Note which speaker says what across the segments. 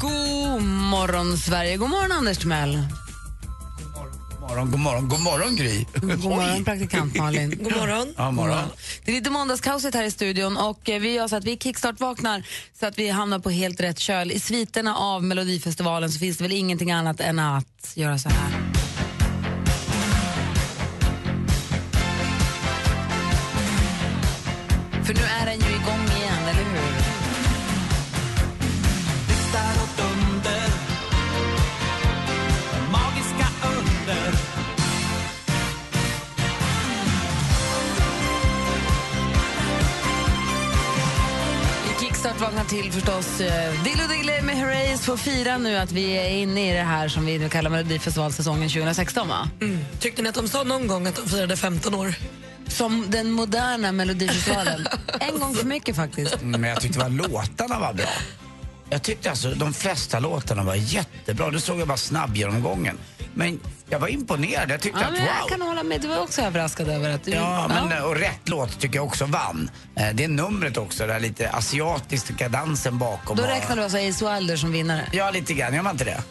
Speaker 1: God morgon, Sverige. God morgon, Anders Timell.
Speaker 2: morgon, god morgon, god morgon Gry.
Speaker 1: God morgon, praktikant Malin. God morgon.
Speaker 2: Ja, morgon.
Speaker 1: Det är lite måndagskaoset här i studion och eh, vi gör så att vi kickstart-vaknar så att vi hamnar på helt rätt köl. I sviterna av Melodifestivalen så finns det väl ingenting annat än att göra så här. För nu är den ju igång igen, eller hur? I Kickstart vaknar till förstås. eh, Dillo Diggiley med Herreys får fira nu att vi är inne i det här som vi nu kallar Melodifestivalsäsongen 2016, va?
Speaker 3: Mm. Tyckte ni att de sa någon gång att de firade 15 år?
Speaker 1: Som den moderna Melodifestivalen. en gång för mycket faktiskt.
Speaker 2: Men jag tyckte det var låtarna var bra. Jag tyckte alltså de flesta låtarna var jättebra. Det såg jag bara snabbgenomgången. Men jag var imponerad. Jag tyckte
Speaker 1: Ja,
Speaker 2: att
Speaker 1: men jag
Speaker 2: wow.
Speaker 1: kan hålla med. Du var också överraskad över att du...
Speaker 2: Ja, men eh, och rätt låt tycker jag också vann. Eh, Det är numret också, det här lite asiatiska kadansen bakom.
Speaker 1: Då
Speaker 2: och-
Speaker 1: räknar du alltså Ace Wilder som vinnare?
Speaker 2: Ja, lite grann. Gör man inte det?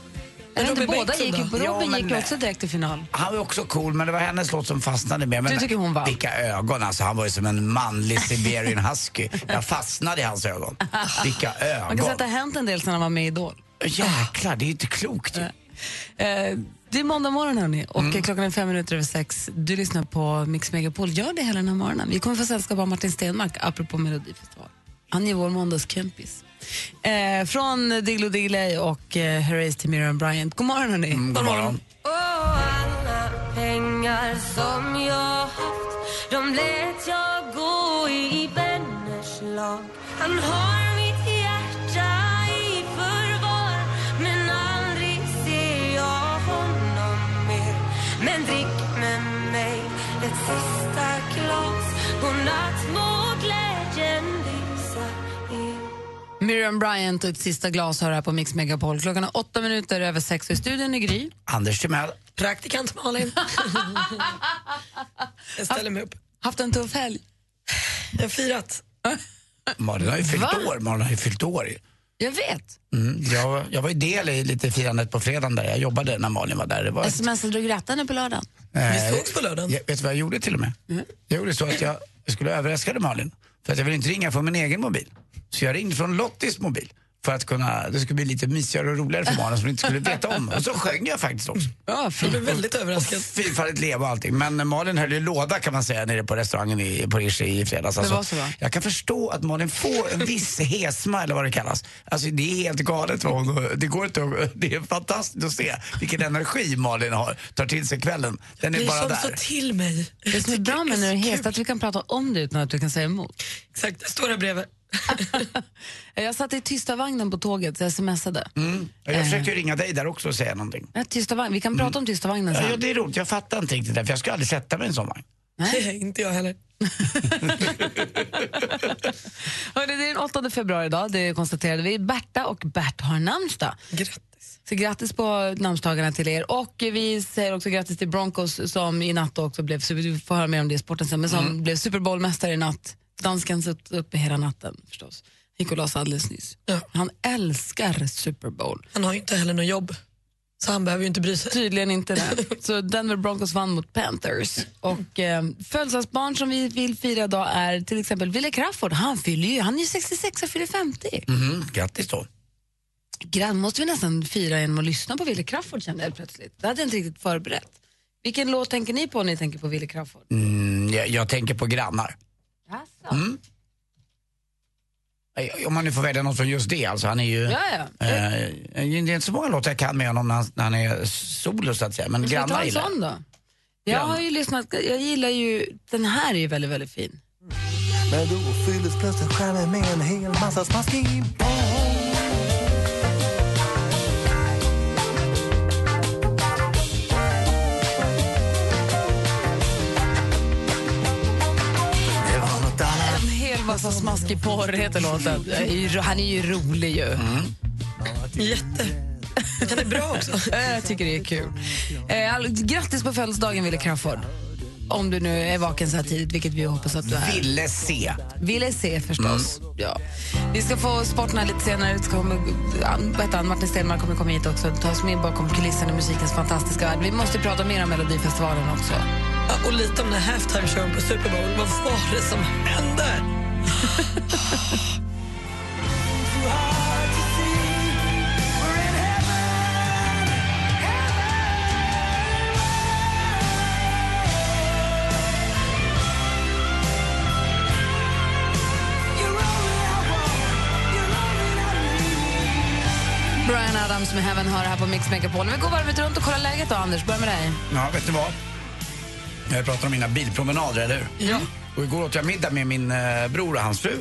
Speaker 1: Jag vet inte,
Speaker 3: Robin
Speaker 1: båda
Speaker 3: Bengtsson
Speaker 1: gick ju på
Speaker 2: då? Ja,
Speaker 1: Robin
Speaker 2: men-
Speaker 1: gick ju också direkt till final.
Speaker 2: Han var också cool, men det var hennes låt som fastnade mer. Men
Speaker 1: Du tycker hon vann?
Speaker 2: Vilka ögon alltså. Han var ju som en manlig Siberian husky. Jag fastnade i hans ögon. Vilka ögon.
Speaker 1: Man kan säga att det har hänt en del sedan han var med i Idol.
Speaker 2: Jäklar, det är ju inte klokt. ju.
Speaker 1: Eh, det är måndag morgon hörni, och
Speaker 3: Mm.
Speaker 1: klockan är fem minuter över sex. Du lyssnar på Mix Megapol. Gör det hela den här morgonen. Vi kommer få sällskap av Martin Stenmark, apropå Melodifestival. Han är vår måndagskompis. Eh, från Diggiloo Diggiley och eh, Herreys till Miriam Bryant. God morgon hörni.
Speaker 3: Mm,
Speaker 2: God morgon.
Speaker 4: pengar som jag haft De lät jag gå i vänners lag Han har mitt hjärta i förvar Men aldrig ser jag honom mer Men drick med mig ett sista glas Godnatt må glädjen lysa er
Speaker 1: Miriam Bryant och ett sista glas hör här på Mix Megapol. Klockan är åtta minuter över sex och i studion är Gry.
Speaker 2: Anders Timell.
Speaker 3: Praktikant Malin. jag ställer mig upp.
Speaker 1: Haft en tuff helg.
Speaker 3: Jag har firat.
Speaker 2: Malin har ju fyllt
Speaker 1: Va?
Speaker 2: år. Malin har ju fyllt år. ju.
Speaker 1: Jag vet.
Speaker 2: Mm. Jag, jag var ju del i lite firandet på fredagen där. Jag jobbade när Malin var där. Det var, Eh,
Speaker 1: Smsade du grattade på lördagen?
Speaker 3: Vi sågs på lördagen.
Speaker 2: jag, vet du vad jag gjorde till och med? Jag gjorde så att jag, jag skulle överraska Malin. För att jag ville inte ringa från min egen mobil. Så jag ringde från Lottis mobil. För att kunna, det skulle bli lite mysigare och roligare för Malin som inte skulle veta om. Och så sjöng jag faktiskt också.
Speaker 1: Ja,
Speaker 3: Jag
Speaker 1: fint.
Speaker 3: blev väldigt överraskad.
Speaker 2: Fyrfaldigt leva och allting. Men eh, Malin höll ju låda kan man säga nere på restaurangen i, på Rishi i fredags. Alltså,
Speaker 1: var så, va?
Speaker 2: Jag kan förstå att Malin får en viss hesma eller vad det kallas. Alltså det är helt galet vad hon, det går inte att, det är fantastiskt att se vilken energi Malin har, tar till sig kvällen. Den
Speaker 3: Det
Speaker 2: är
Speaker 3: är
Speaker 2: bara
Speaker 3: som så
Speaker 2: där.
Speaker 3: till mig.
Speaker 1: Det som är bra med när du är hes är att vi kan prata om det utan att du kan säga emot.
Speaker 3: Exakt, det står där bredvid.
Speaker 1: Jag satt i tysta vagnen på tåget så jag smsade.
Speaker 2: Och Jag försökte ju ringa dig där också och säga någonting.
Speaker 1: Ja, Tysta vagn. Vi kan prata om tysta vagnen
Speaker 2: Mm. Ja, ja,
Speaker 1: sen.
Speaker 2: det är roligt, jag fattar inte riktigt det där, för jag ska aldrig sätta mig i en sån vagn.
Speaker 3: inte jag heller.
Speaker 1: Hörrni, det är den 8 februari idag, det konstaterade vi. Berta och Bert har namnsdag.
Speaker 3: Grattis.
Speaker 1: Så grattis på namnsdagarna till er. Och vi säger också grattis till Broncos som i natt också blev, super- vi får höra mer om det i sporten sen, men som
Speaker 2: Mm.
Speaker 1: blev Super Bowl-mästare i natt. Dansken satt uppe hela natten förstås. Gick och la sig alldeles nyss.
Speaker 3: Ja.
Speaker 1: Han älskar Super Bowl.
Speaker 3: Han har ju inte heller något jobb, så han behöver ju inte bry sig.
Speaker 1: Tydligen inte det. Så Denver Broncos vann mot Panthers. Och eh, födelsedagsbarn som vi vill fira idag är till exempel Wille Crafoord. Han fyller ju, han är ju 66 och fyller 50.
Speaker 2: Mm, grattis då.
Speaker 1: Grann måste vi nästan fira genom att lyssna på Wille Crafoord kände jag plötsligt. Det hade jag inte riktigt förberett. Vilken låt tänker ni på när ni tänker på Wille Crafoord?
Speaker 2: Mm, jag, jag tänker på grannar.
Speaker 1: Alltså.
Speaker 2: Eh, Om man nu får välja något från just det, alltså han är ju...
Speaker 1: Ja, ja.
Speaker 2: Eh, det är inte så många låtar jag kan med honom när han, när han är solo så att säga. Men
Speaker 1: Ska vi
Speaker 2: grannar
Speaker 1: ta en
Speaker 2: gillar jag.
Speaker 1: sån då? Jag har ju lyssnat, jag gillar ju, den här är ju väldigt, väldigt fin.
Speaker 4: Egen
Speaker 5: Men då fylldes plötsligt skärmen med en hel massa smaskig boll. Det var något annat
Speaker 1: En hel massa smaskig porr heter låten. Jag är ju- Han är ju rolig ju.
Speaker 6: Jätte. Den är bra också.
Speaker 1: Eh, Jag tycker det är kul. Eh, all- Grattis på födelsedagen, Wille Crafoord. Om du nu är vaken så här tidigt, vilket vi hoppas att du är.
Speaker 2: Ville se.
Speaker 1: Ville se förstås.
Speaker 6: Mm.
Speaker 1: Ja. Vi ska få sporten här lite senare. Det kommer, an, vad heter han? Martin Stenmarck kommer komma hit också. Ta oss med bakom kulisserna i musikens fantastiska värld. Vi måste prata mer om Melodifestivalen också.
Speaker 6: Ja, Och lite om den här halftime-showen på Super Bowl. Vad var det som hände?
Speaker 1: Brian Adams med Heaven hör här på Mix Megapol. Men vi går varvet runt och kollar läget då, Anders. Börja med dig.
Speaker 2: Ja, vet du vad? Jag pratar om mina bilpromenader, eller hur? Ja. Och igår åt jag middag med min eh, bror och hans fru.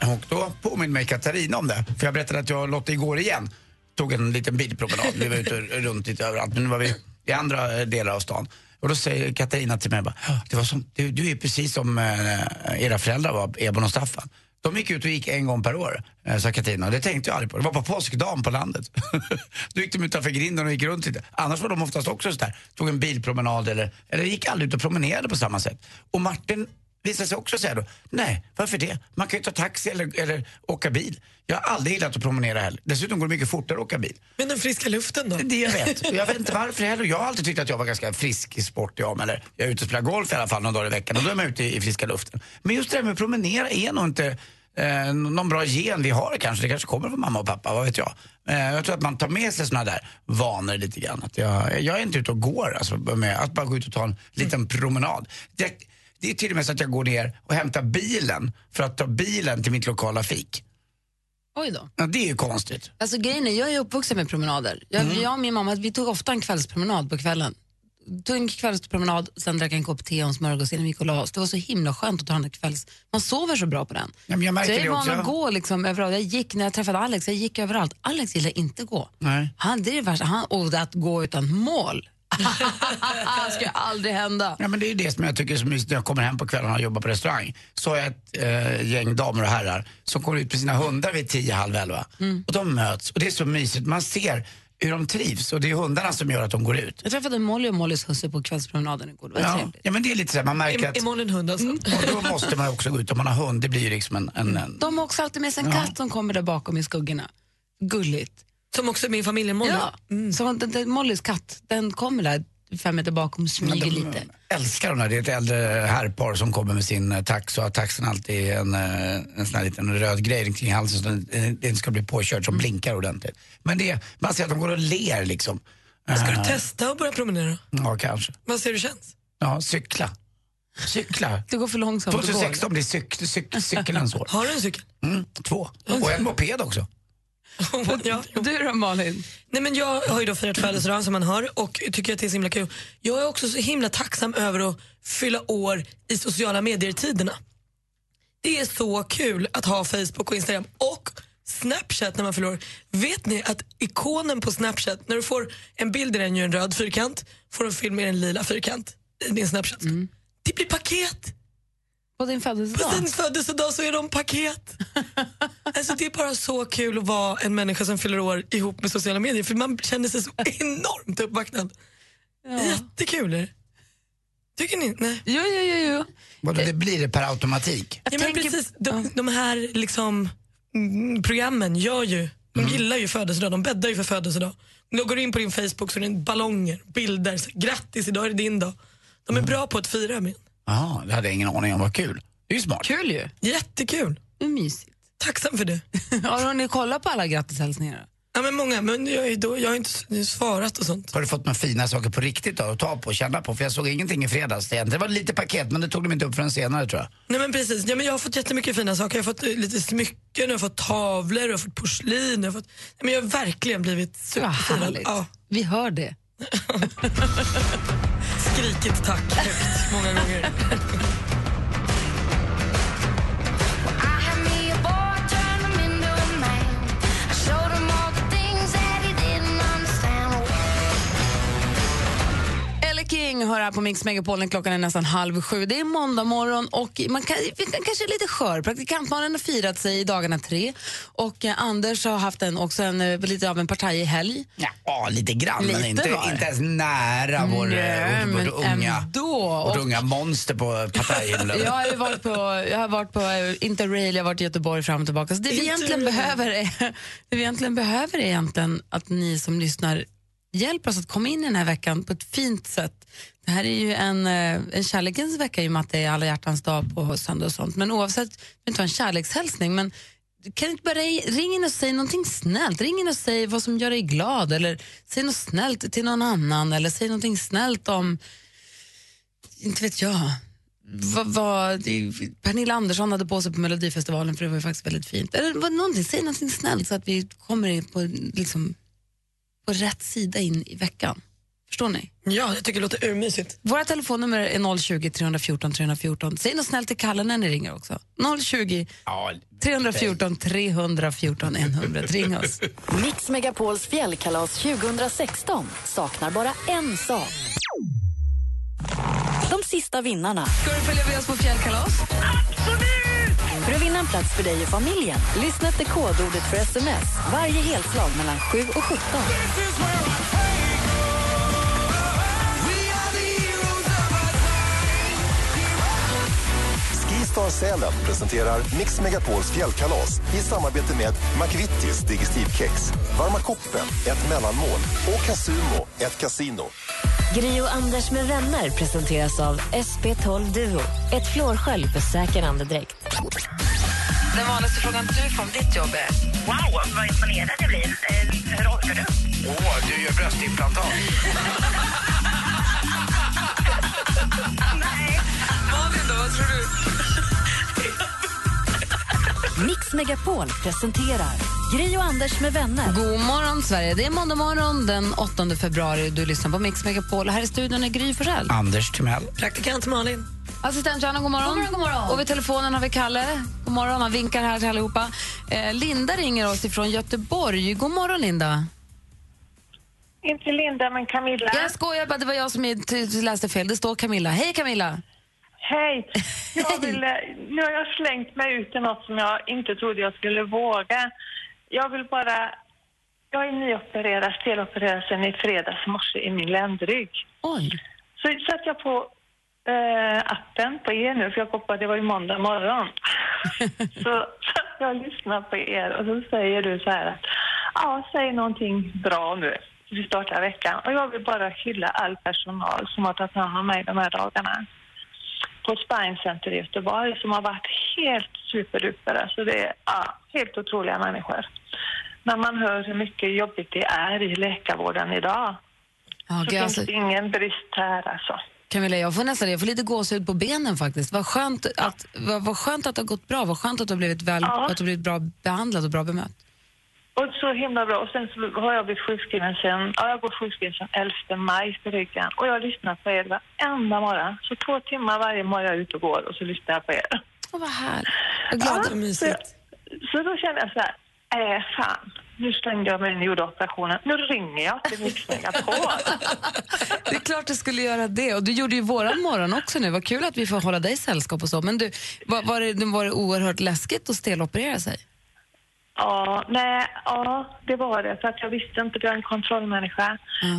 Speaker 2: Och då påminner mig Katarina om det. För jag berättade att jag och Lotta igår igen tog en liten bilpromenad. Vi var ute runt lite överallt, men nu var vi i andra eh, delar av stan. Och då säger Katarina till mig bara, "Hör, det var som, du, du är precis som eh, era föräldrar var, Ebon och Staffan. De gick ut och gick en gång per år, eh, sa Katarina. Och Det tänkte jag aldrig på. Det var på påskdagen på landet. Då gick de utanför grinden och gick runt lite. Annars var de oftast också sådär, tog en bilpromenad eller, eller gick aldrig ut och promenerade på samma sätt. Och Martin visade sig också säga då, nej, varför det? Man kan ju ta taxi eller, eller åka bil. Jag har aldrig gillat att promenera heller. Dessutom går det mycket fortare att åka bil.
Speaker 6: Men den friska luften då?
Speaker 2: Det jag vet. Och Jag vet inte varför heller. Jag har alltid tyckt att jag var ganska frisk i sport. Jag, men, eller, jag är ute och spelar golf i alla fall några dagar i veckan och då är man ute i, i friska luften. Men just det där med att promenera är nog inte eh, någon bra gen vi har kanske. Det kanske kommer från mamma och pappa, vad vet jag. Eh, jag tror att man tar med sig såna där vanor lite grann. Att jag, jag är inte ute och går, alltså, med att bara gå ut och ta en liten promenad. Det, det är till och med så att jag går ner och hämtar bilen för att ta bilen till mitt lokala fik.
Speaker 1: Oj då.
Speaker 2: Ja, det är ju konstigt.
Speaker 1: Alltså grejen är, jag är uppvuxen med promenader. Jag,
Speaker 2: Mm.
Speaker 1: jag och min mamma, vi tog ofta en kvällspromenad på kvällen. Tog en kvällspromenad, sen drack en kopp te och en smörgås innan vi gick och la oss. Det var så himla skönt att ta den där kvälls... Man sover så bra på den.
Speaker 2: Ja, men jag
Speaker 1: så
Speaker 2: märker
Speaker 1: jag är
Speaker 2: det
Speaker 1: van
Speaker 2: också.
Speaker 1: att gå liksom överallt. Jag gick när jag träffade Alex, jag gick överallt. Alex gillar inte att gå.
Speaker 2: Nej.
Speaker 1: Han, det är det värsta. Han, och att gå utan mål. det ska ju aldrig hända.
Speaker 2: Ja, men det är ju det som jag tycker är så mysigt när jag kommer hem på kvällarna och jobbar på restaurang. Så har jag ett eh, gäng damer och herrar som kommer ut med sina hundar vid tio, halv elva.
Speaker 1: Mm.
Speaker 2: Och de möts och det är så mysigt. Man ser hur de trivs och det är hundarna som gör att de går ut.
Speaker 1: Jag träffade Molly och Mollys husse på kvällspromenaden igår. Det var
Speaker 2: Ja,
Speaker 1: trevligt.
Speaker 2: ja men det är lite så här, man märker
Speaker 6: Im-
Speaker 2: att
Speaker 6: Imorgon en hund alltså.
Speaker 2: och då måste man också gå ut om man har hund. Det blir ju liksom en... en, en
Speaker 1: De har också alltid med sig en katt som kommer där bakom i skuggorna. Gulligt.
Speaker 6: Som också är min familjemorgon.
Speaker 1: Ja. Så den, den, Mollys katt, den kommer där fem meter bakom och smyger lite.
Speaker 2: Mm. älskar de här. Det är ett äldre herrpar som kommer med sin eh, tax och har taxen alltid en, eh, en sån här liten röd grej kring halsen så den, eh, den ska bli påkörd
Speaker 1: Mm.
Speaker 2: som blinkar ordentligt. Men det, man ser att de går och ler liksom.
Speaker 6: Ska du
Speaker 2: Eh,
Speaker 6: testa att börja promenera?
Speaker 2: Ja, kanske.
Speaker 6: Vad ser du känns?
Speaker 2: Ja, cykla. Cykla.
Speaker 1: Det går för långsamt. att gå.
Speaker 2: 2016 blir cyk, cyk, cykelns år.
Speaker 6: Har du en cykel?
Speaker 2: Mm, två. Och en moped också.
Speaker 6: ja.
Speaker 1: Du då Malin?
Speaker 6: Nej, men jag har ju då firat födelsedagen som man har och tycker att det är så himla kul. Jag är också så himla tacksam över att fylla år i sociala medier-tiderna. Det är så kul att ha Facebook och Instagram och Snapchat när man förlorar. Vet ni att ikonen på Snapchat, när du får en bild i den ju en röd fyrkant, får en film i en lila fyrkant i din Snapchat. Det blir paket!
Speaker 1: På din
Speaker 6: På
Speaker 1: födelsedag?
Speaker 6: sin födelsedag så är de paket. Alltså det är bara så kul att vara en människa som fyller år ihop med sociala medier för man känner sig så enormt uppvaknad.
Speaker 1: Ja.
Speaker 6: Jättekul är det. Tycker ni? Nej.
Speaker 1: Jo, jo, jo, jo.
Speaker 2: Vadå, det blir det per automatik?
Speaker 6: Ja, men
Speaker 1: tänker-
Speaker 6: precis, de, de här liksom, mm, programmen gör ju, de
Speaker 1: Mm.
Speaker 6: gillar ju födelsedag, de bäddar ju för födelsedag. Loggar du in på din Facebook så är det ballonger, bilder, så, grattis idag är det din dag. De är
Speaker 1: Mm.
Speaker 6: bra på att fira med.
Speaker 2: Ja, det hade jag ingen aning om. Vad kul. Det är ju smart.
Speaker 1: Kul ju.
Speaker 6: Jättekul,
Speaker 1: Hur mysigt.
Speaker 6: tacksam för det.
Speaker 1: Har hon kollat på alla grattishälsningar?
Speaker 6: Ja, men många, men jag, är då, jag har inte s- svarat och sånt.
Speaker 2: Har du fått några fina saker på riktigt då, att ta på och känna på? För jag såg ingenting i fredags. Det var lite paket, men det tog de inte upp förrän senare tror jag.
Speaker 6: Nej men precis, ja, men jag har fått jättemycket fina saker. Jag har fått eh, lite smycken, jag har fått tavlor, jag har fått porslin. Jag har, fått... Nej, men jag har verkligen blivit
Speaker 1: Vad
Speaker 6: superfirad.
Speaker 1: härligt.
Speaker 6: Ja,
Speaker 1: Vi hör det.
Speaker 6: skrikit tack högt många gånger.
Speaker 1: det här på Mix Megapolen. Klockan är nästan halv sju. Det är måndag morgon och man kan, vi kan- kanske är lite skör. Praktikantmannen har firat sig i dagarna tre och eh, Anders har haft en, också en, eh, lite av en partajhelg.
Speaker 2: Ja, lite grann, men
Speaker 1: Lite
Speaker 2: inte,
Speaker 1: var det.
Speaker 2: inte ens nära vår,
Speaker 1: Nej,
Speaker 2: Nej, vår,
Speaker 1: men
Speaker 2: vår unga,
Speaker 1: ändå.
Speaker 2: vårt
Speaker 1: Och-
Speaker 2: unga monster på Partajhimlen.
Speaker 1: Jag har, ju varit på, jag har varit på eh, Interrail, jag har varit i Göteborg fram och tillbaka. Så det vi, egentligen behöver är, det vi egentligen behöver är egentligen att ni som lyssnar hjälper oss att komma in i den här veckan på ett fint sätt. Det här är ju en, eh, en kärlekens vecka i och med att det är alla hjärtans dag på söndag och sånt. Men oavsett, vi behöver inte ha en kärlekshälsning, men kan du inte bara ringa in och säga någonting snällt? Ring in och säg vad som gör dig glad eller säg något snällt till någon annan eller säg någonting snällt om, inte vet jag, vad, vad det- Pernilla Andersson hade på sig på Melodifestivalen för det var ju faktiskt väldigt fint. Eller vad, någonting, säg någonting snällt så att vi kommer in på, liksom, på rätt sida in i veckan. Förstår ni?
Speaker 3: Ja, jag tycker det låter urmysigt.
Speaker 1: Våra telefonnummer är 020 314 314. Säg något snällt till Kalle när ni ringer också. 020 314 314 100. Ring oss.
Speaker 7: Mix Megapols fjällkalas 2016 saknar bara en sak. De sista vinnarna.
Speaker 1: Ska du följa med oss på fjällkalas?
Speaker 7: För att vinna en plats för dig och familjen, lyssna efter kodordet för sms varje helslag mellan 7 och 17.
Speaker 8: Skistar Sälen presenterar Mix Megapols fjällkalas i samarbete med McVittys Digestivkex, Varma koppen, ett mellanmål och Casumo, ett kasino.
Speaker 9: Gri och Anders med vänner presenteras av SP12 Duo. Ett flårskölj för säker andedräkt.
Speaker 1: Den vanligaste frågan du får om ditt jobb är?
Speaker 6: Wow, vad imponerad jag blir. Eh, Hur orkar du?
Speaker 2: Åh, du gör bröstimplantat.
Speaker 1: Malin då, vad tror du?
Speaker 7: Mix Megapol presenterar Gri och Anders med vänner.
Speaker 1: God morgon, Sverige. Det är måndag morgon den 8 februari. Du lyssnar på Mix Megapol. Här i studion är Gry Forssell.
Speaker 2: Anders Timell.
Speaker 3: Praktikant Malin.
Speaker 1: Assistent Johanna, god morgon.
Speaker 3: God morgon, god morgon.
Speaker 1: Och vid telefonen har vi Kalle. God morgon, han vinkar här till allihopa. Eh, Linda ringer oss ifrån Göteborg. God morgon, Linda.
Speaker 6: Inte Linda, men Camilla.
Speaker 1: Jag skojar bara, det var jag som i- t- t- läste fel. Det står Camilla. Hej Camilla!
Speaker 6: Hej! Jag ville, nu har jag slängt mig ut i något som jag inte trodde jag skulle våga. Jag vill bara... Jag är nyopererad, stelopererad sedan i fredags morse i min ländrygg.
Speaker 1: Oj!
Speaker 6: Så satt jag på eh, appen på er nu, för jag koppade, det var ju måndag morgon. så satt jag och lyssnade på er och så säger du så här att ja, säg någonting bra nu. Vi startar veckan och jag vill bara hylla all personal som har tagit hand om mig de här dagarna på Spine Center i Göteborg som har varit helt superduper. Alltså det är ja, helt otroliga människor. När man hör hur mycket jobbigt det är i läkarvården idag
Speaker 1: Ja, gud,
Speaker 6: så finns
Speaker 1: alltså,
Speaker 6: det ingen brist här alltså.
Speaker 1: Camilla, jag får nästan jag får lite gåshud på benen faktiskt. Vad skönt att, vad, vad skönt att det har gått bra. Vad skönt att du har blivit, väl,
Speaker 6: Ja.
Speaker 1: att du har blivit bra behandlad och bra bemött.
Speaker 6: Och så himla bra. Och sen så har jag blivit sjukskriven sen, ja, jag går sjukskriven sen 11 maj för ryggen. Och jag har lyssnat på er varenda morgon. Så två timmar varje morgon jag är ute och går och så lyssnar jag på er.
Speaker 1: Åh, vad härligt. Vad glad
Speaker 6: Ja, så, så då kände jag så här, äh, fan, nu stängde jag mig när jag gjorde operationen. Nu ringer jag till Mix Megapol.
Speaker 1: Det är klart du skulle göra det. Och du gjorde ju våran morgon också nu. Vad kul att vi får hålla dig sällskap och så. Men du, var, var, det, var det oerhört läskigt att steloperera sig?
Speaker 6: Ja, nej, ja, det var det. För att jag visste inte, att jag är en kontrollmänniska.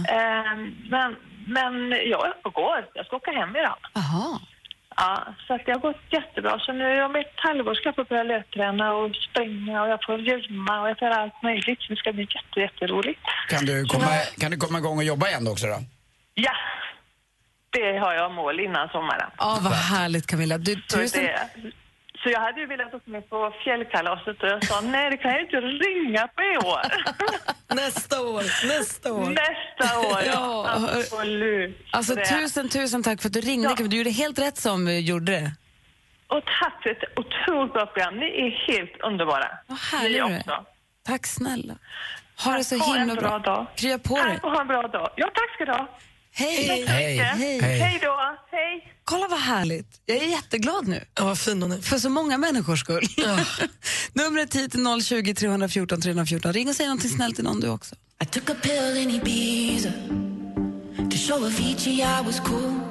Speaker 6: Ehm, men, men ja, jag går. Jag ska åka hem idag.
Speaker 1: Aha.
Speaker 6: Ja, så att det har gått jättebra. Så nu är jag med ett halvår ska jag få börja löpträna och springa och jag får gömma och jag får allt möjligt. Så det ska bli jätte, jätteroligt.
Speaker 2: Kan du, komma, kan du komma igång och jobba igen då också då?
Speaker 6: Ja, det har jag mål innan sommaren.
Speaker 1: Ja, vad härligt Camilla. Du,
Speaker 6: Så,
Speaker 1: tusen...
Speaker 6: det, så jag hade ju velat åka med på fjällkalaset och jag sa nej, det kan jag inte ringa på i år.
Speaker 3: Nästa år, nästa år.
Speaker 6: Nästa år, ja.
Speaker 1: Ja.
Speaker 6: Absolut.
Speaker 1: Alltså
Speaker 6: Så det-
Speaker 1: tusen, tusen tack för att du ringde.
Speaker 6: Ja.
Speaker 1: Camilla. Du gjorde helt rätt som eh, gjorde det.
Speaker 6: Och tack för ett otroligt bra program. Ni är helt underbara.
Speaker 1: Vad härlig
Speaker 6: Ni
Speaker 1: du är.
Speaker 6: också.
Speaker 1: Tack snälla. Ha det så
Speaker 6: Ha
Speaker 1: himla
Speaker 6: en
Speaker 1: bra.
Speaker 6: bra dag.
Speaker 1: Krya på dig.
Speaker 6: Tack och ha en bra dag. Ja, tack ska du ha.
Speaker 1: Hej.
Speaker 2: Hej.
Speaker 1: Hej.
Speaker 6: Hej då. Hej.
Speaker 1: Kolla vad härligt. Jag är jätteglad nu.
Speaker 3: Ja, vad fin hon är.
Speaker 1: För så många människors skull. Numret hit är 020 314 314. Ring och säg någonting snällt till någon du också.
Speaker 4: I took a pill in Ibiza to show Avicii I was cool.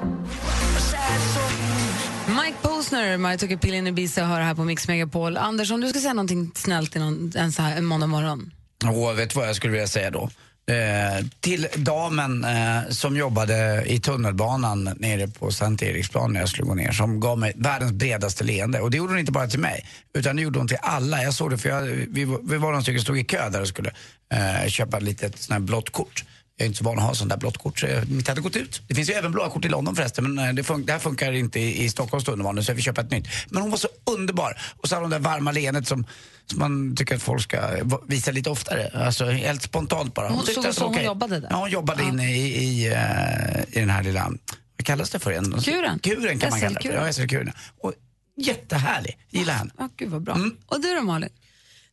Speaker 1: Mike Posner, My Took a Pill in Ibiza, hör här på Mix Megapol. Anders, om du ska säga någonting snällt till någon en, så här, en måndag morgon.
Speaker 2: Åh, vet du vad jag skulle vilja säga då? Eh, till damen eh, som jobbade i tunnelbanan nere på Sankt Eriksplan när jag skulle gå ner, som gav mig världens bredaste leende. Och det gjorde hon inte bara till mig, utan det gjorde hon till alla. Jag såg det för jag, vi, var- vi var några stycken som stod i kö där och skulle eh, köpa ett litet sånt här blått kort. Jag är inte så van att ha sånt där blått kort, så jag- mitt hade gått ut. Det finns ju även blåa kort i London förresten, men eh, det, fun- det här funkar inte i, i Stockholms tunnelbana, så jag fick köpa ett nytt. Men hon var så underbar! Och så hade hon det där varma leendet som, som man tycker att folk ska eh, va- visa lite oftare. Alltså helt spontant bara.
Speaker 1: Hon
Speaker 2: tyckte
Speaker 1: såg
Speaker 2: att det
Speaker 1: så
Speaker 2: var
Speaker 1: hon
Speaker 2: okej.
Speaker 1: jobbade där?
Speaker 2: Ja, hon jobbade inne i, i, eh, i den här lilla, vad kallas det för igen?
Speaker 1: Kuren.
Speaker 2: Kuren kan man kalla det för.
Speaker 1: SL-kuren.
Speaker 2: Ja, SL-kuren. Och jättehärlig, gillar henne.
Speaker 1: Ah, gud vad bra.
Speaker 3: Mm.
Speaker 1: Och du då Malin?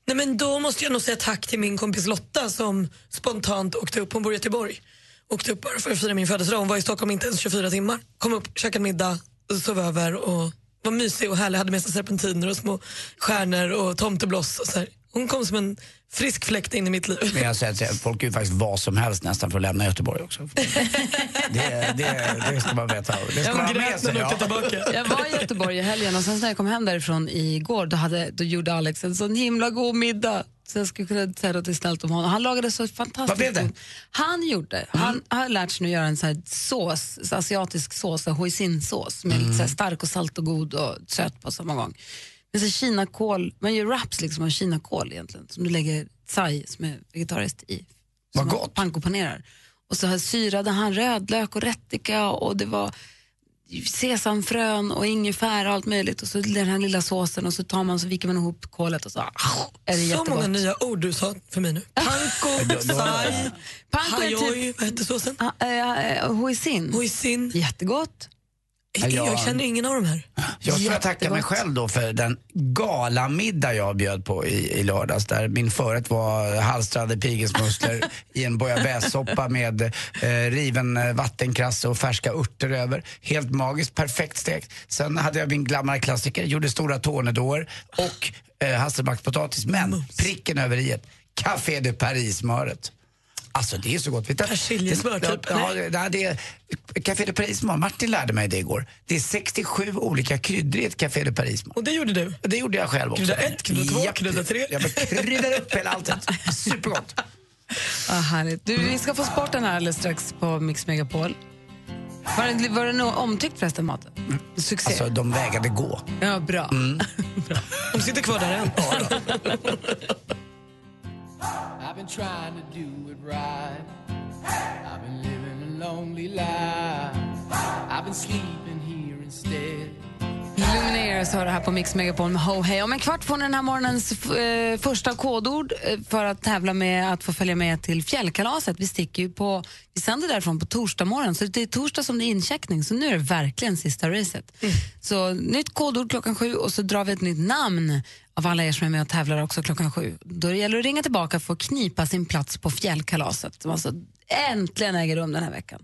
Speaker 3: Nej, men då måste jag nog säga tack till min kompis Lotta som spontant åkte upp. Hon bor i Göteborg. Åkte upp bara för att fira min födelsedag. Hon var i Stockholm inte ens 24 timmar. Kom upp, käkade middag, och sov över och var mysig och härlig. Hade med sig serpentiner och små stjärnor och tomtebloss. Och så här. Hon kom som en frisk fläkt in i mitt liv.
Speaker 2: Men jag säger att folk är ju faktiskt vad som helst nästan för att lämna Göteborg också. Det, det, det ska man veta. Det ska man ha med sig. ja.
Speaker 1: Jag var i Göteborg i helgen och sen när jag kom hem därifrån igår då, hade, då gjorde Alex en sån himla god middag. Så jag skulle kunna säga att det är snällt om honom. Han lagade så fantastiskt
Speaker 2: Vad blev det? Mm.
Speaker 1: god- Han gjorde, han har lärt sig nu göra en sån här sås, så asiatisk sås, så här hoisinsås med
Speaker 2: Mm.
Speaker 1: lite så här stark och salt och god och söt på samma gång. Men så kinakål, man gör wraps liksom av kinakål egentligen som du lägger thai som är vegetariskt i. Vad gott! Pankopanerar. Och så här syrade han rödlök och rättika och det var sesamfrön och ingefära och allt möjligt och så den här lilla såsen och så tar man så viker man ihop kolet och så ah, är det
Speaker 3: så
Speaker 1: jättegott.
Speaker 3: många nya ord du sa för mig nu. Panko, saj,
Speaker 1: Panko är
Speaker 3: hajoj,
Speaker 1: typ- eh,
Speaker 3: vad hette såsen?
Speaker 1: Hoisin.
Speaker 3: Hoisin.
Speaker 1: Jättegott.
Speaker 3: Jag,
Speaker 2: Ja.
Speaker 3: jag känner ingen av de här.
Speaker 2: Jag får tacka mig själv då för den galamiddag jag bjöd på i, i lördags där min förrätt var halstrade pigesmusslor i en bouillabaissesoppa med eh, riven eh, vattenkrasse och färska örter över. Helt magiskt, perfekt stekt. Sen hade jag min glamourklassiker, gjorde stora tornedåer och eh, hasselbackspotatis men pricken över i ett Café de Paris-smöret. Alltså det är så gott. Vet du att-
Speaker 3: Persiljesmör,
Speaker 2: det-
Speaker 3: typ.
Speaker 2: Ja, det- det, det, Café de Paris, Martin lärde mig det igår. Det är 67 olika kryddor i ett Café de Paris.
Speaker 3: Och det gjorde du?
Speaker 2: Det gjorde jag själv också.
Speaker 3: Krydda ett, krydda två,
Speaker 2: Japp.
Speaker 3: krydda tre.
Speaker 2: Jag bara kryddar upp hela alltet. Supergott.
Speaker 1: Ah, härligt. Du, vi ska få sporten här alldeles strax på Mix Megapol. Var den, var den nog omtyckt förresten, maten? Succé.
Speaker 2: Alltså de vägrade gå.
Speaker 1: Ja, bra.
Speaker 3: De sitter kvar där än.
Speaker 10: I've been trying to do it right. I've been living a lonely life. I've been sleeping here instead.
Speaker 1: Lumineers hör det här på Mix Megapol med Ho Hey. Om en kvart får ni den här morgonens f- eh, första kodord eh, för att tävla med att få följa med till fjällkalaset. Vi sticker ju på, vi sänder därifrån på torsdag morgon, så det är torsdag som det är incheckning, så nu är det verkligen sista racet. Så nytt kodord klockan sju och så drar vi ett nytt namn av alla er som är med och tävlar också klockan sju. Då gäller det att ringa tillbaka för att knipa sin plats på fjällkalaset som alltså äntligen äger rum den här veckan.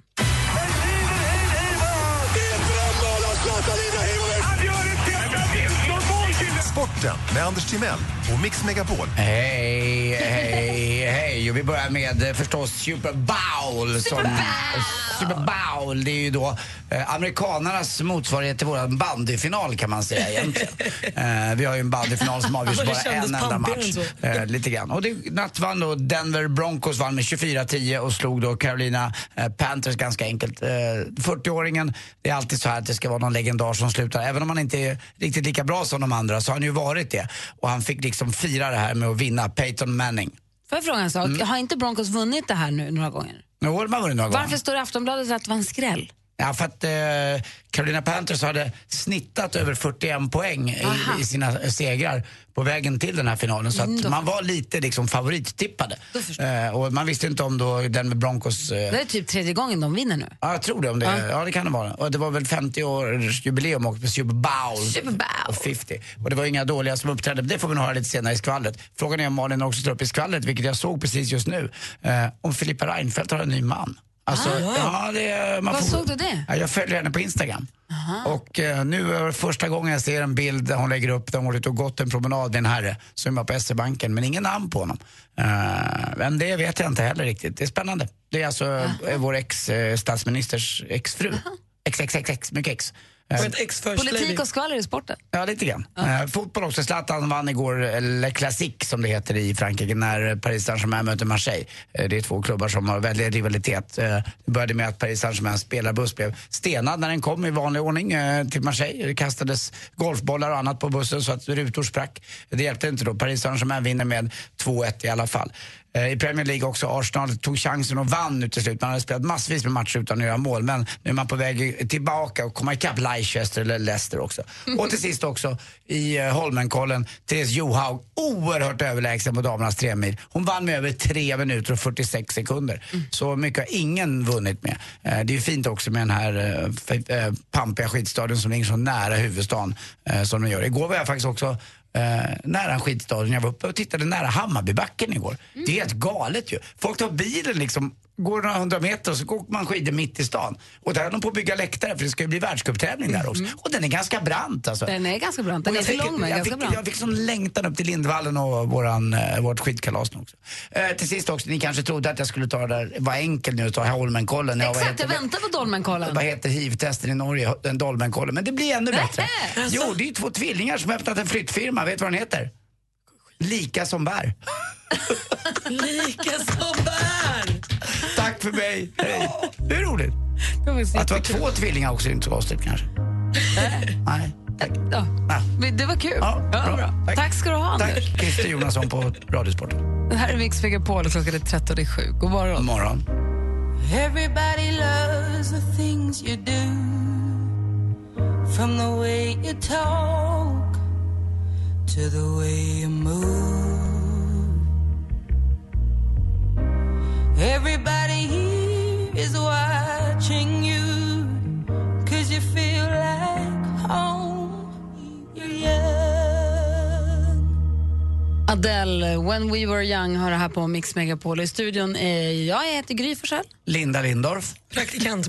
Speaker 8: Sporten med Anders Timell och Mix Megapol.
Speaker 2: Hej, hej, hej. Och vi börjar med eh, förstås Super Bowl. Super Bowl! Super Bowl, det är ju då eh, amerikanernas motsvarighet till våran bandyfinal kan man säga egentligen. eh, vi har ju en bandyfinal som avgörs
Speaker 11: Ja, det
Speaker 2: bara
Speaker 11: kändes
Speaker 2: en enda
Speaker 11: pampigare
Speaker 2: match.
Speaker 11: än så.
Speaker 2: Eh, lite grann. Och det, natt vann då Denver Broncos vann med 24-10 och slog då Carolina eh, Panthers ganska enkelt. Eh, 40-åringen, det är alltid så här att det ska vara någon legendar som slutar. Även om han inte är riktigt lika bra som de andra så har han ju varit det. Och han fick liksom fira det här med att vinna Peyton Manning.
Speaker 1: Får jag fråga en sak? Har inte Broncos vunnit det här nu några gånger?
Speaker 2: Nu har man vunnit några gånger.
Speaker 1: Varför står det i Aftonbladet att det var en skräll?
Speaker 2: Ja, för att eh, Carolina Panthers hade snittat över 41 poäng i, i sina segrar på vägen till den här finalen. Så att
Speaker 1: Mm, då
Speaker 2: man var lite liksom favorittippade. Eh, och man visste inte om då den med Broncos... Eh,
Speaker 1: Det är typ tredje gången de vinner nu.
Speaker 2: Ja, jag tror det. Om det ja. det kan det vara. Och det var väl 50-årsjubileum och Super Bowl.
Speaker 1: Super Bowl.
Speaker 2: Och 50. Och det var inga dåliga som uppträdde. Men Det får vi nog höra lite senare i skvallret. Frågan är om Malin också tar upp i skvallret, vilket jag såg precis just nu, eh, om Filippa Reinfeldt har en ny man. Alltså,
Speaker 1: Ah.
Speaker 2: ja, det, man
Speaker 1: Var
Speaker 2: får,
Speaker 1: såg du det?
Speaker 2: Ja, jag följer henne på Instagram. Och eh, nu är det första gången jag ser en bild där hon lägger upp där hon har varit och gått en promenad med en herre som är på SE-banken, men ingen namn på honom. Eh, men det vet jag inte heller riktigt. Det är spännande. Det är alltså
Speaker 1: Ah.
Speaker 2: eh, vår ex-statsministers exfru. XXXX, mycket ex. Eh,
Speaker 1: Politik och skvaller i sporten.
Speaker 2: Ja, lite grann. Eh, fotboll också. Zlatan vann igår eh, Le Classique som det heter i Frankrike när eh, Paris Saint-Germain möter Marseille. Eh, det är två klubbar som har väldig rivalitet. Eh, det började med att Paris Saint-Germains spelarbuss blev stenad när den kom i vanlig ordning eh, till Marseille. Det kastades golfbollar och annat på bussen så att rutor sprack. Det hjälpte inte då. Paris Saint-Germain vinner med 2-1 i alla fall. Eh, I Premier League också, Arsenal tog chansen och vann nu till slut. Man hade spelat massvis med matcher utan att göra mål, men nu är man på väg tillbaka och komma ikapp Leicester eller Leicester också. Och till sist också i eh, Holmenkollen, Therese Johaug, oerhört överlägsen på damernas tre mil. Hon vann med över 3 minuter och 46 sekunder. Så mycket har ingen vunnit med. Eh, Det är ju fint också med den här eh, f- eh, pampiga skidstadion som ligger så nära huvudstaden eh, som den gör. Igår var jag faktiskt också eh, nära en skidstadion. Jag var uppe och tittade nära Hammarbybacken igår. Det är helt galet ju. Folk tar bilen liksom, går några hundra meter och så åker man skidor mitt i stan. Och där är de på att bygga läktare för det ska ju bli världscuptävling där också. Och den är ganska brant alltså.
Speaker 1: Den är ganska brant. Den
Speaker 2: Och
Speaker 1: är
Speaker 2: jag
Speaker 1: inte
Speaker 2: fick-
Speaker 1: lång men
Speaker 2: jag
Speaker 1: ganska
Speaker 2: fick- Jag
Speaker 1: brant.
Speaker 2: fick sån längtan upp till Lindvallen och våran, eh, vårt skidkalas nu också. Eh, till sist också, ni kanske trodde att jag skulle ta det där, var enkel nu och ta Holmenkollen. när jag var-
Speaker 1: Exakt, jag
Speaker 2: heter-
Speaker 1: väntar på Dolmenkollen.
Speaker 2: vad heter hiv-testen i Norge? Den Dolmenkollen. Men det blir ännu bättre.
Speaker 1: Alltså-
Speaker 2: Jo, det är ju två tvillingar som har öppnat en flyttfirma. Vet du vad den heter? Lika som bär.
Speaker 3: Lika som bär!
Speaker 2: Tack för mig. Hej. Det är roligt. Att det var två tvillingar också är inte så konstigt kanske. Nej.
Speaker 1: Ja.
Speaker 2: Ah.
Speaker 1: Men Det var kul. Ja, bra. Tack. ska du ha, Anders.
Speaker 2: Tack Christer Jonasson på Radiosporten.
Speaker 1: Det här är Mix Megapol och klockan är 13 i sju. God morgon. God
Speaker 2: morgon.
Speaker 12: Everybody loves the things you do From the way you talk To the way you move Everybody here is watching you Cause you feel like home You're young
Speaker 1: Adele, When We Were Young, har det här på Mix Megapol. I studion är jag, jag heter Gry Forssell.
Speaker 2: Linda Lindorff.
Speaker 3: Praktikant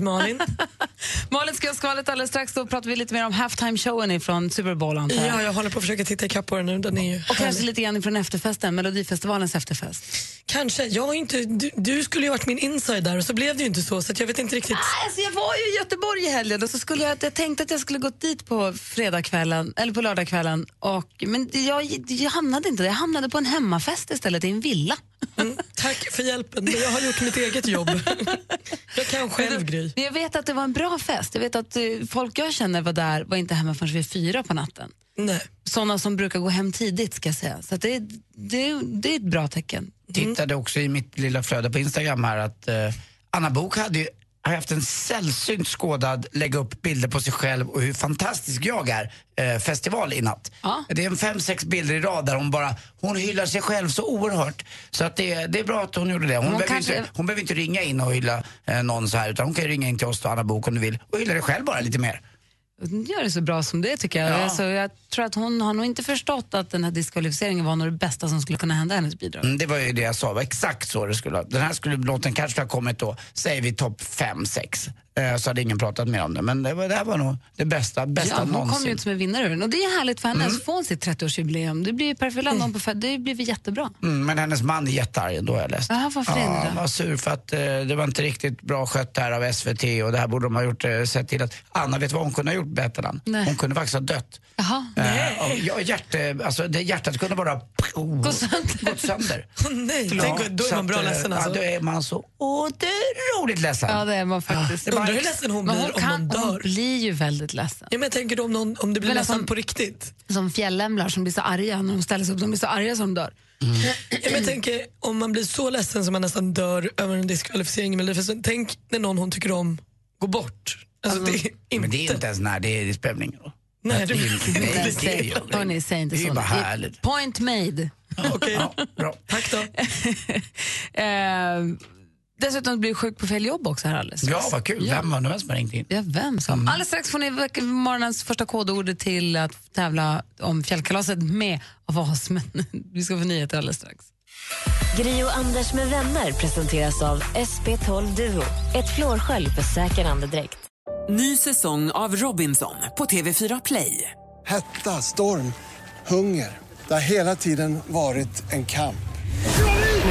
Speaker 3: Malin.
Speaker 1: Malin ska göra skvallret alldeles strax. Då pratar vi lite mer om halftime-showen från Super Bowl, antar
Speaker 3: Ja, jag håller på att försöka titta ikapp på den nu. Den är ju
Speaker 1: Och kanske lite grann från efterfesten, Melodifestivalens efterfest.
Speaker 3: Kanske. Jag har ju inte, du, du skulle ju varit min insider och så blev det ju inte så så att jag vet inte riktigt.
Speaker 1: Nej, Alltså jag var ju i Göteborg i helgen och så skulle jag, jag tänkte att jag skulle gått dit på fredagskvällen, eller på lördagskvällen, och, men jag, jag hamnade inte där. Jag hamnade på en hemmafest istället i en villa.
Speaker 3: Tack för hjälpen, men jag har gjort mitt eget jobb. jag kan själv, Gry.
Speaker 1: Men jag vet att det var en bra fest. Jag vet att eh, folk jag känner var där var inte hemma förrän vid fyra på natten.
Speaker 3: Nej.
Speaker 1: Sådana som brukar gå hem tidigt ska jag säga. Så att det, det, det är ett bra tecken.
Speaker 2: tittade också i mitt lilla flöde på Instagram här att eh, Anna Bok hade ju har haft en sällsynt skådad lägga upp bilder på sig själv och hur fantastisk jag är eh, festival i natt. Det är en fem, sex bilder i rad där hon bara hon hyllar sig själv så oerhört. Så att det, det är bra att hon gjorde det. Hon,
Speaker 1: Hon
Speaker 2: behöver,
Speaker 1: kanske-
Speaker 2: inte, hon behöver inte ringa in och hylla eh, någon så här utan hon kan ju ringa in till oss då, Anna Bok om du vill och hylla dig själv bara lite mer.
Speaker 1: Gör det så bra som det tycker jag.
Speaker 2: Ja.
Speaker 1: Alltså, jag tror att hon har nog inte förstått att den här diskvalificeringen var nog det bästa som skulle kunna hända hennes bidrag.
Speaker 2: Mm, det var ju det jag sa, det var exakt så det skulle ha. Den här skulle låten kanske ha kommit då, säger vi topp 5-6. Så hade ingen pratat mer om det. Men det, var, det här var nog det bästa, bästa
Speaker 1: ja, hon kom ju
Speaker 2: någonsin. Mm.
Speaker 1: ut som en vinnare ur den. Och det är härligt för henne. Så får hon sitt 30-årsjubileum. Det blir ju perfekt. Landar hon på föd- det blir väl jättebra.
Speaker 2: Mm, men hennes man är jättearg ändå har jag läst.
Speaker 1: Jaha, varför är det
Speaker 2: ja,
Speaker 1: då?
Speaker 2: han var sur för att eh, det var inte riktigt bra skött här av SVT och det här borde de ha gjort, eh, sett till att Anna, vet du vad hon kunde ha gjort bättre än?
Speaker 1: Nej.
Speaker 2: Hon kunde faktiskt ha dött.
Speaker 1: Jaha.
Speaker 2: Eh, och jag, hjärte, alltså, det, hjärtat kunde bara
Speaker 1: Gå sönder.
Speaker 2: gått sönder.
Speaker 3: nej,
Speaker 2: Ja,
Speaker 3: tänk, då är
Speaker 2: så
Speaker 3: man bra
Speaker 2: att, eh,
Speaker 3: ledsen
Speaker 2: ja,
Speaker 3: alltså.
Speaker 2: då är man så otroligt ledsen.
Speaker 1: Ja, det är man faktiskt.
Speaker 3: Undrar hur ledsen hon
Speaker 1: Men
Speaker 3: blir om
Speaker 1: kan,
Speaker 3: någon dör.
Speaker 1: Hon blir ju väldigt ledsen.
Speaker 3: Ja, men jag tänker då om, någon, om du blir
Speaker 1: Men
Speaker 3: ledsen
Speaker 1: alltså-
Speaker 3: på riktigt.
Speaker 1: Som fjällämlar som blir så arga när de ställer sig upp. De blir så arga som de dör.
Speaker 3: Ja, men jag tänker om man blir så ledsen som man nästan dör över en diskvalificering i Melodifestivalen. Tänk när någon hon tycker om går bort. Alltså, det är inte...
Speaker 2: Men det är inte ens när det är i spelningen då.
Speaker 3: Nej, du-
Speaker 2: det är,
Speaker 3: Nej,
Speaker 2: nej, det är
Speaker 1: Säg-
Speaker 2: ju
Speaker 1: Hörni, säg inte
Speaker 2: Det är ju
Speaker 1: så.
Speaker 2: bara
Speaker 1: Det är
Speaker 2: härligt.
Speaker 1: Point made.
Speaker 3: Tack då.
Speaker 1: eh, dessutom blir jag sjuk på fel jobb också här alldeles strax.
Speaker 2: Ja, vad kul.
Speaker 1: Ja.
Speaker 2: Vem var det som ringt in?
Speaker 1: Ja, vem som? Alldeles strax får ni veck- morgonens första kodordet till att tävla om fjällkalaset med av oss. Men vi ska få nyheter alldeles strax.
Speaker 9: Gri och Anders med vänner presenteras av SP12 Duo. Ett flårskölj för säker andedräkt.
Speaker 3: Ny säsong av Robinson på TV4 Play.
Speaker 13: Hetta, storm, hunger. Det har hela tiden varit en kamp.
Speaker 3: Nu